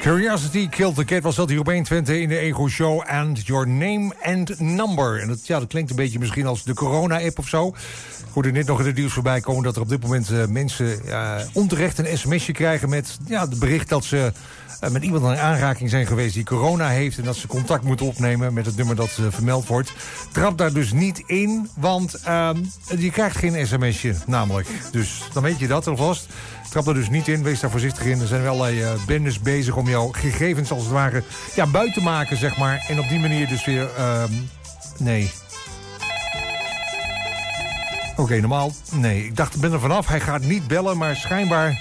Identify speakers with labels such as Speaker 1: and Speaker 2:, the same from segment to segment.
Speaker 1: Curiosity Killed the Cat was dat hier op 120 in de Ego Show. And Your Name and Number. En dat, ja, dat klinkt een beetje misschien als de corona-app of zo. Goed, er net nog in het nieuws voorbij komen dat er op dit moment eh, mensen eh, onterecht een sms'je krijgen met ja, het bericht dat ze eh, met iemand in aanraking zijn geweest die corona heeft. En dat ze contact moeten opnemen met het nummer dat eh, vermeld wordt. Trap daar dus niet in, want ehm, je krijgt geen sms'je namelijk. Dus dan weet je dat alvast. Trap er dus niet in, wees daar voorzichtig in. Er zijn wel allerlei eh, bendes bezig om jouw gegevens als het ware ja, buiten te maken, zeg maar. En op die manier dus weer, ehm, nee, Oké, normaal. Nee, ik dacht, ik ben er vanaf. Hij gaat niet bellen, maar schijnbaar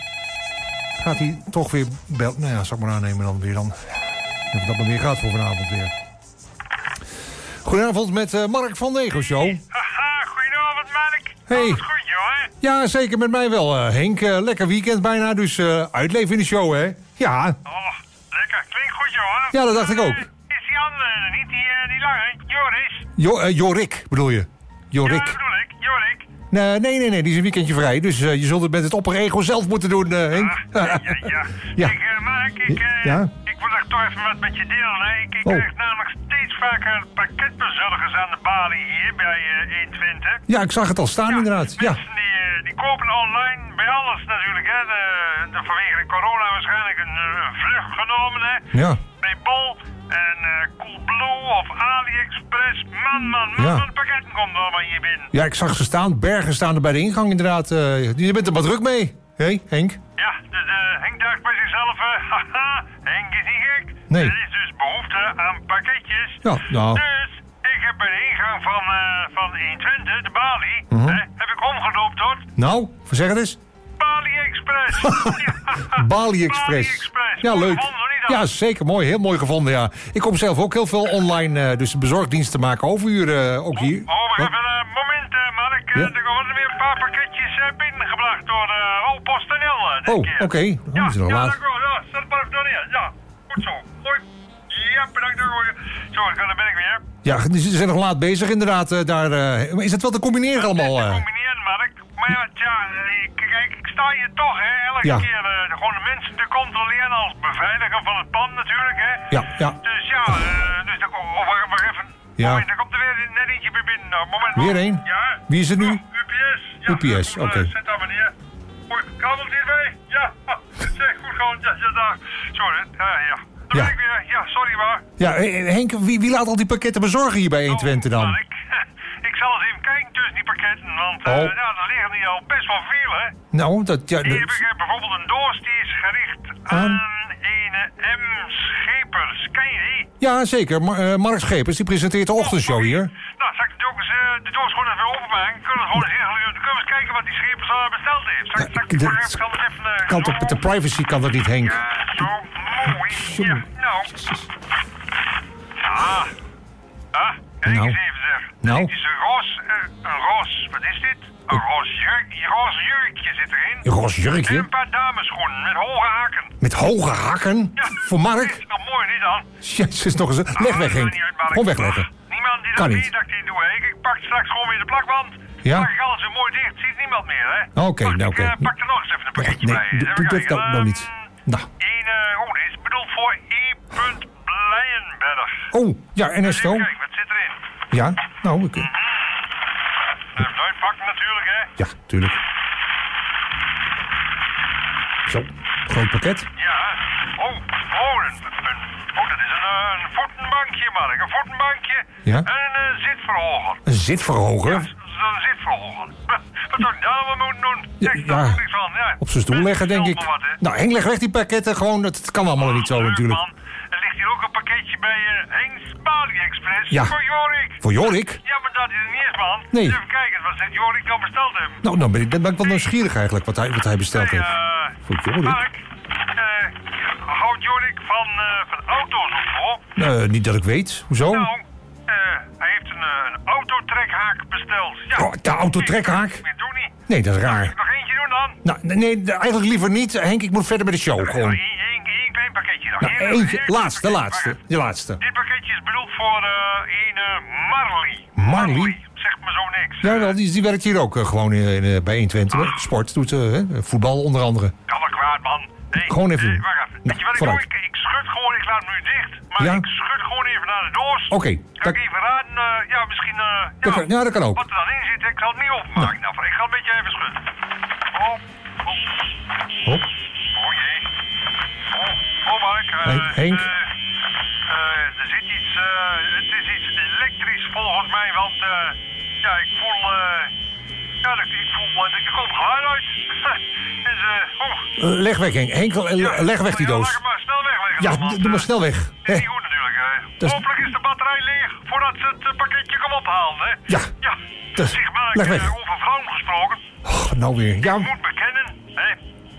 Speaker 1: gaat hij toch weer bellen. Nou ja, zal ik maar aannemen dan weer dan. Of dat maar weer gaat voor vanavond weer. Goedenavond met eh, Mark van Nego Show.
Speaker 2: Haha, goedenavond, Mark.
Speaker 1: Hey.
Speaker 2: Alles goed, jongen?
Speaker 1: Ja, zeker met mij wel, eh, Henk. Eh, lekker weekend bijna, dus eh, uitleven in de show, hè? Ja,
Speaker 2: Oh, lekker. Klinkt goed, jongen.
Speaker 1: Ja, dat dacht ik ook.
Speaker 2: Eh, is die andere er niet, die, eh, die lange? Joris?
Speaker 1: jo eh, Jorik bedoel je.
Speaker 2: Ja, dat
Speaker 1: Jorik.
Speaker 2: bedoel ik. Jorik.
Speaker 1: Nee, nee, nee, nee, die is een weekendje vrij. Dus eh, je zult het met het opperego zelf moeten doen, eh, Henk.
Speaker 2: Ah, ja, ja, ja.
Speaker 1: Ja.
Speaker 2: Ik, eh, Mark, ik, eh,
Speaker 1: Ja?
Speaker 2: ik wil daar toch even wat met je delen. Hè. Ik, ik
Speaker 1: Oh.
Speaker 2: krijg namelijk steeds vaker pakketbezorgers aan de balie hier bij eh 120.
Speaker 1: Ja, ik zag het al staan inderdaad. Ja.
Speaker 2: Mensen die, eh, die kopen online bij alles natuurlijk. Hè. De, de, vanwege de corona waarschijnlijk een eh, vlucht genomen. Hè.
Speaker 1: Ja.
Speaker 2: Bij Bol en eh Coolblue of AliExpress. Man, man, man,
Speaker 1: Ja.
Speaker 2: wat pakketten komt er allemaal hier binnen.
Speaker 1: Ja, ik zag ze staan. Bergen staan er bij de ingang inderdaad. Eh, je bent er maar druk mee. Hé, Henk?
Speaker 2: Ja, dus eh, Henk dacht bij zichzelf, eh, haha, Henk is niet gek.
Speaker 1: Nee.
Speaker 2: Er is dus behoefte aan pakketjes.
Speaker 1: Ja, nou.
Speaker 2: Dus ik heb bij de ingang van, eh van 120, de Bali,
Speaker 1: Mhm.
Speaker 2: hè, heb ik omgedoopt tot
Speaker 1: Nou, zeg het eens.
Speaker 2: Bali Express. Ja.
Speaker 1: Bali Express.
Speaker 2: Express.
Speaker 1: Ja,
Speaker 2: Mooi
Speaker 1: leuk.
Speaker 2: gevonden, niet dan?
Speaker 1: Ja, zeker mooi. Heel mooi gevonden, ja. Ik kom zelf ook heel veel online, eh, dus bezorgdiensten maken overuren eh, ook hier.
Speaker 2: Oh, we
Speaker 1: Wat?
Speaker 2: hebben een moment, eh, Mark. Eh,
Speaker 1: Ja?
Speaker 2: Er worden weer een paar pakketjes eh, binnengebracht door eh oh, PostNL. eh, dit
Speaker 1: Oh,
Speaker 2: keer.
Speaker 1: oké. Dan
Speaker 2: Ja,
Speaker 1: is het al
Speaker 2: ja,
Speaker 1: laat.
Speaker 2: dank u wel. Ja, zet het maar even door neer. Ja, goed zo. Hoi. Ja, bedankt. dank u wel. Zo, daar ben ik weer.
Speaker 1: Ja, ze zijn nog laat bezig inderdaad. eh, daar, eh, maar is dat wel te combineren allemaal?
Speaker 2: Te
Speaker 1: eh?
Speaker 2: combineren, Mark. Maar ja, tja, eh, ik- kijk, ik sta hier toch, hè, elke
Speaker 1: Ja.
Speaker 2: keer eh, gewoon de mensen te controleren als beveiliger van het pand natuurlijk, hè.
Speaker 1: Ja, ja.
Speaker 2: Dus ja, eh, dus dan kom, oh, wacht, wacht even.
Speaker 1: Ja.
Speaker 2: Moment, er komt er weer net eentje weer binnen. Nou, moment,
Speaker 1: Weer
Speaker 2: moment.
Speaker 1: één?
Speaker 2: Ja.
Speaker 1: Wie is er nu?
Speaker 2: Oh, UPS. Ja,
Speaker 1: UPS,
Speaker 2: goed, eh,
Speaker 1: oké.
Speaker 2: Zet daar maar neer. Goed, kabelt hierbij? Ja. Zeg, goed gewoon. Ja, ja, daar. Sorry, hè. Ah, ja, ja. Dan
Speaker 1: Ja.
Speaker 2: ben ik weer. Ja, sorry, maar.
Speaker 1: Ja, eh, Henk, wie, wie laat al die pakketten bezorgen hier bij 120
Speaker 2: Oh,
Speaker 1: dan?
Speaker 2: maar Ik, ik zal eens even kijken tussen die pakketten, want eh,
Speaker 1: Oh.
Speaker 2: ja, er liggen hier al best wel veel, hè.
Speaker 1: Nou, dat... Ja,
Speaker 2: Hier heb ik
Speaker 1: dat-
Speaker 2: eh, bijvoorbeeld een doos die is gericht
Speaker 1: Aan?
Speaker 2: aan een eh, M. Schepers. Ken je die?
Speaker 1: ja zeker. Ma- eh, Mark Schepers, die presenteert
Speaker 2: Oh,
Speaker 1: de ochtendshow
Speaker 2: oké.
Speaker 1: hier.
Speaker 2: Nou, zal ik de, doos, eh, de doos gewoon even openmaken? Kunnen we gewoon eens regelen? Kunnen we eens kijken wat die Schepers eh, besteld heeft? Zal ik, zal ik,
Speaker 1: Ja,
Speaker 2: zal ik,
Speaker 1: dat
Speaker 2: zal ik even... eh,
Speaker 1: Kan
Speaker 2: zo-
Speaker 1: toch, met de privacy kan dat niet, Henk?
Speaker 2: Ja, zo mooi. Ja, nou. Ah. Ah, kijk
Speaker 1: Nou.
Speaker 2: eens even zeg.
Speaker 1: Nou.
Speaker 2: Dit is een roze, eh, een roze, wat is dit? Een roze, jurk, roze jurkje zit erin.
Speaker 1: Een roze jurkje?
Speaker 2: En een paar damesschoenen met hoge haken.
Speaker 1: Met hoge hakken?
Speaker 2: Ja. Ah,
Speaker 1: Voor Mark?
Speaker 2: Is toch mooi, niet dan?
Speaker 1: Jezus, nog eens. Leg weg, Henk. Gewoon wegleggen.
Speaker 2: Niemand die
Speaker 1: Kan
Speaker 2: dat
Speaker 1: niet.
Speaker 2: weet dat ik dit doe, hè. Ik- Ik pak straks gewoon weer de plakband.
Speaker 1: Ja.
Speaker 2: Pak ik alles weer mooi dicht. Ziet niemand meer, hè.
Speaker 1: Oké,
Speaker 2: Wacht,
Speaker 1: nou,
Speaker 2: ik, eh,
Speaker 1: oké.
Speaker 2: pak er nog eens even een pakketje
Speaker 1: Nee,
Speaker 2: bij. eh,
Speaker 1: doe-
Speaker 2: Even
Speaker 1: doe dat
Speaker 2: kijken.
Speaker 1: nou- nou niet.
Speaker 2: Ehm,
Speaker 1: Nou.
Speaker 2: Een, eh, oh, dit is bedoeld voor E. Blijenberg.
Speaker 1: Oh, ja, Ernesto.
Speaker 2: Kijk, Mhm. wat zit erin?
Speaker 1: Ja, nou, ik...
Speaker 2: Even uitpakken natuurlijk, hè.
Speaker 1: Ja, tuurlijk. Zo, groot pakket.
Speaker 2: Ja. Oh, oh, een, een, oh dat is een, eh, een voetenbankje, Mark. Een voetenbankje
Speaker 1: Ja.
Speaker 2: en een eh, zitverhoger. Dus,
Speaker 1: Een zitverhoger.
Speaker 2: Dan zit verhogen. Wat zou ik daar nou maar moeten doen?
Speaker 1: Ja,
Speaker 2: Ik snap
Speaker 1: ja.
Speaker 2: er niks van, ja.
Speaker 1: Op zijn stoel leggen, denk
Speaker 2: Vertel
Speaker 1: ik.
Speaker 2: me wat, hè.
Speaker 1: Nou, Henk, leg weg die pakketten. Gewoon, dat, dat kan allemaal niet zo
Speaker 2: Leuk,
Speaker 1: natuurlijk.
Speaker 2: man. Er ligt hier ook een pakketje bij eh Hengs Bali Express.
Speaker 1: Ja.
Speaker 2: Voor Jorik.
Speaker 1: Voor Jorik?
Speaker 2: Ja, maar dat is er niet eens, man.
Speaker 1: Nee.
Speaker 2: Even kijken, wat zegt Jorik dan besteld hebben.
Speaker 1: Nou, dan ben ik, dan ben ik wel nieuwsgierig eigenlijk wat hij, wat hij besteld
Speaker 2: Hey,
Speaker 1: heeft.
Speaker 2: eh,
Speaker 1: Voor Jorik?
Speaker 2: Mark, eh, houdt Jorik van, eh, van auto's of zo?
Speaker 1: Eh, niet dat ik weet. Hoezo?
Speaker 2: Nou, eh, hij heeft een, eh, een autotrekhaak besteld. Ja.
Speaker 1: Oh, de autotrekhaak?
Speaker 2: Ik- ik doe niet.
Speaker 1: Nee, dat is
Speaker 2: Moet ik
Speaker 1: raar.
Speaker 2: nog eentje doen dan?
Speaker 1: Nou, nee, eigenlijk liever niet. Henk, ik moet verder met de show gewoon.
Speaker 2: Eén Nou, één- één klein pakketje dan.
Speaker 1: Nou,
Speaker 2: Eén-
Speaker 1: eentje,
Speaker 2: één klein
Speaker 1: laatste, de
Speaker 2: pakketje.
Speaker 1: laatste. De laatste.
Speaker 2: Dit pakketje is bedoeld voor eh een eh, Marley.
Speaker 1: Marley?
Speaker 2: Zegt me zo niks.
Speaker 1: Ja, wel, die, die werkt hier ook eh, gewoon in,
Speaker 2: Ah.
Speaker 1: in, eh, bij 120. hè. Sport doet eh, hè, voetbal onder andere.
Speaker 2: Kan wel kwaad, man. Hey,
Speaker 1: Gewoon even
Speaker 2: eh,
Speaker 1: doen. Nou,
Speaker 2: wacht even. Weet je wat ik doe?
Speaker 1: vooruit.
Speaker 2: Ik, ik schud gewoon, ik laat hem nu dicht. Maar
Speaker 1: Ja?
Speaker 2: ik schud gewoon even naar de doos.
Speaker 1: Oké,
Speaker 2: Ga
Speaker 1: dat-
Speaker 2: ik even raden, eh, ja, misschien... eh, ja,
Speaker 1: Dat kan- ja, dat kan ook.
Speaker 2: Wat er dan in zit, ik zal het niet openmaken. Nou. ik ga een beetje even schudden. Hop, hop.
Speaker 1: Hop.
Speaker 2: Oh jee. Oh, oh Mark. eh,
Speaker 1: Hey, Henk.
Speaker 2: eh, eh, er zit iets, eh, het is iets elektrisch volgens mij, want eh, ja, ik voel, eh, ja, dat- ik voel, eh, er komt geluid uit. dus, eh, oh.
Speaker 1: Leg weg, Henk. Henk, eh,
Speaker 2: Ja,
Speaker 1: leg weg die
Speaker 2: ja, laat
Speaker 1: doos.
Speaker 2: hem maar snel wegleggen.
Speaker 1: Ja,
Speaker 2: dan,
Speaker 1: d-
Speaker 2: want,
Speaker 1: doe maar
Speaker 2: eh,
Speaker 1: snel weg.
Speaker 2: Is
Speaker 1: Hè?
Speaker 2: niet goed natuurlijk. hè.
Speaker 1: Dat is-
Speaker 2: Hopelijk is de batterij leeg voordat ze het eh, pakketje kan ophalen. Hè.
Speaker 1: Ja.
Speaker 2: ja.
Speaker 1: Dat is-
Speaker 2: zeg maar,
Speaker 1: leg
Speaker 2: eh,
Speaker 1: weg.
Speaker 2: over vrouwen gesproken.
Speaker 1: Oh, nou weer.
Speaker 2: Ik
Speaker 1: Ja,
Speaker 2: moet bekennen, hè.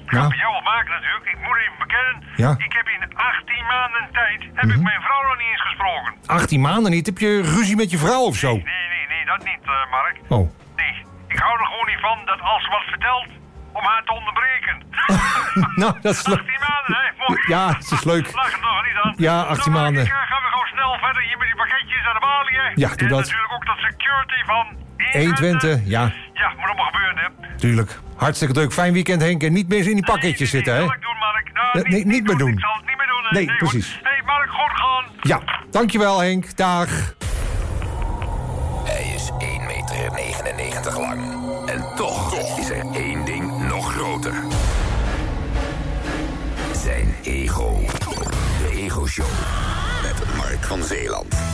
Speaker 2: Ik
Speaker 1: Ja.
Speaker 2: ga bij jou wel maken natuurlijk. Ik moet even bekennen.
Speaker 1: Ja. Mhm.
Speaker 2: Ik heb in 18 maanden tijd heb ik mijn vrouw nog niet eens gesproken.
Speaker 1: 18 maanden niet. Heb je ruzie met je vrouw of zo?
Speaker 2: Nee, nee, nee, dat niet, eh, Mark.
Speaker 1: Oh.
Speaker 2: Nee, ik hou er gewoon niet van dat als ze wat vertelt, om haar te onderbreken.
Speaker 1: Nou, dat is leuk.
Speaker 2: 18 maanden, hè? Mooi.
Speaker 1: Ja, dat is leuk.
Speaker 2: Lach er nog niet aan.
Speaker 1: Ja, 18
Speaker 2: Nou,
Speaker 1: maanden.
Speaker 2: Mark, ik, eh, gaan we gewoon snel verder hier met die pakketjes naar de balie, hè?
Speaker 1: Ja, doe
Speaker 2: en
Speaker 1: dat.
Speaker 2: natuurlijk ook dat security van
Speaker 1: 120, ja.
Speaker 2: Ja, moet allemaal gebeuren, hè?
Speaker 1: Tuurlijk. Hartstikke leuk. Fijn weekend, Henk. En niet meer in die pakketjes
Speaker 2: Nee,
Speaker 1: zitten,
Speaker 2: nee,
Speaker 1: hè?
Speaker 2: zal ik doen, Mark. Nou,
Speaker 1: Nee, nee, niet meer doen.
Speaker 2: Ik zal het niet meer doen, hè?
Speaker 1: Nee,
Speaker 2: goed.
Speaker 1: precies.
Speaker 2: Hé, hey, Mark, goed gaan.
Speaker 1: Ja. Dankjewel, Henk. Dag.
Speaker 3: Hij is 1,99 meter lang. En toch, is er één ding nog groter. Zijn ego. De Ego Show. Met Mark van Zeeland.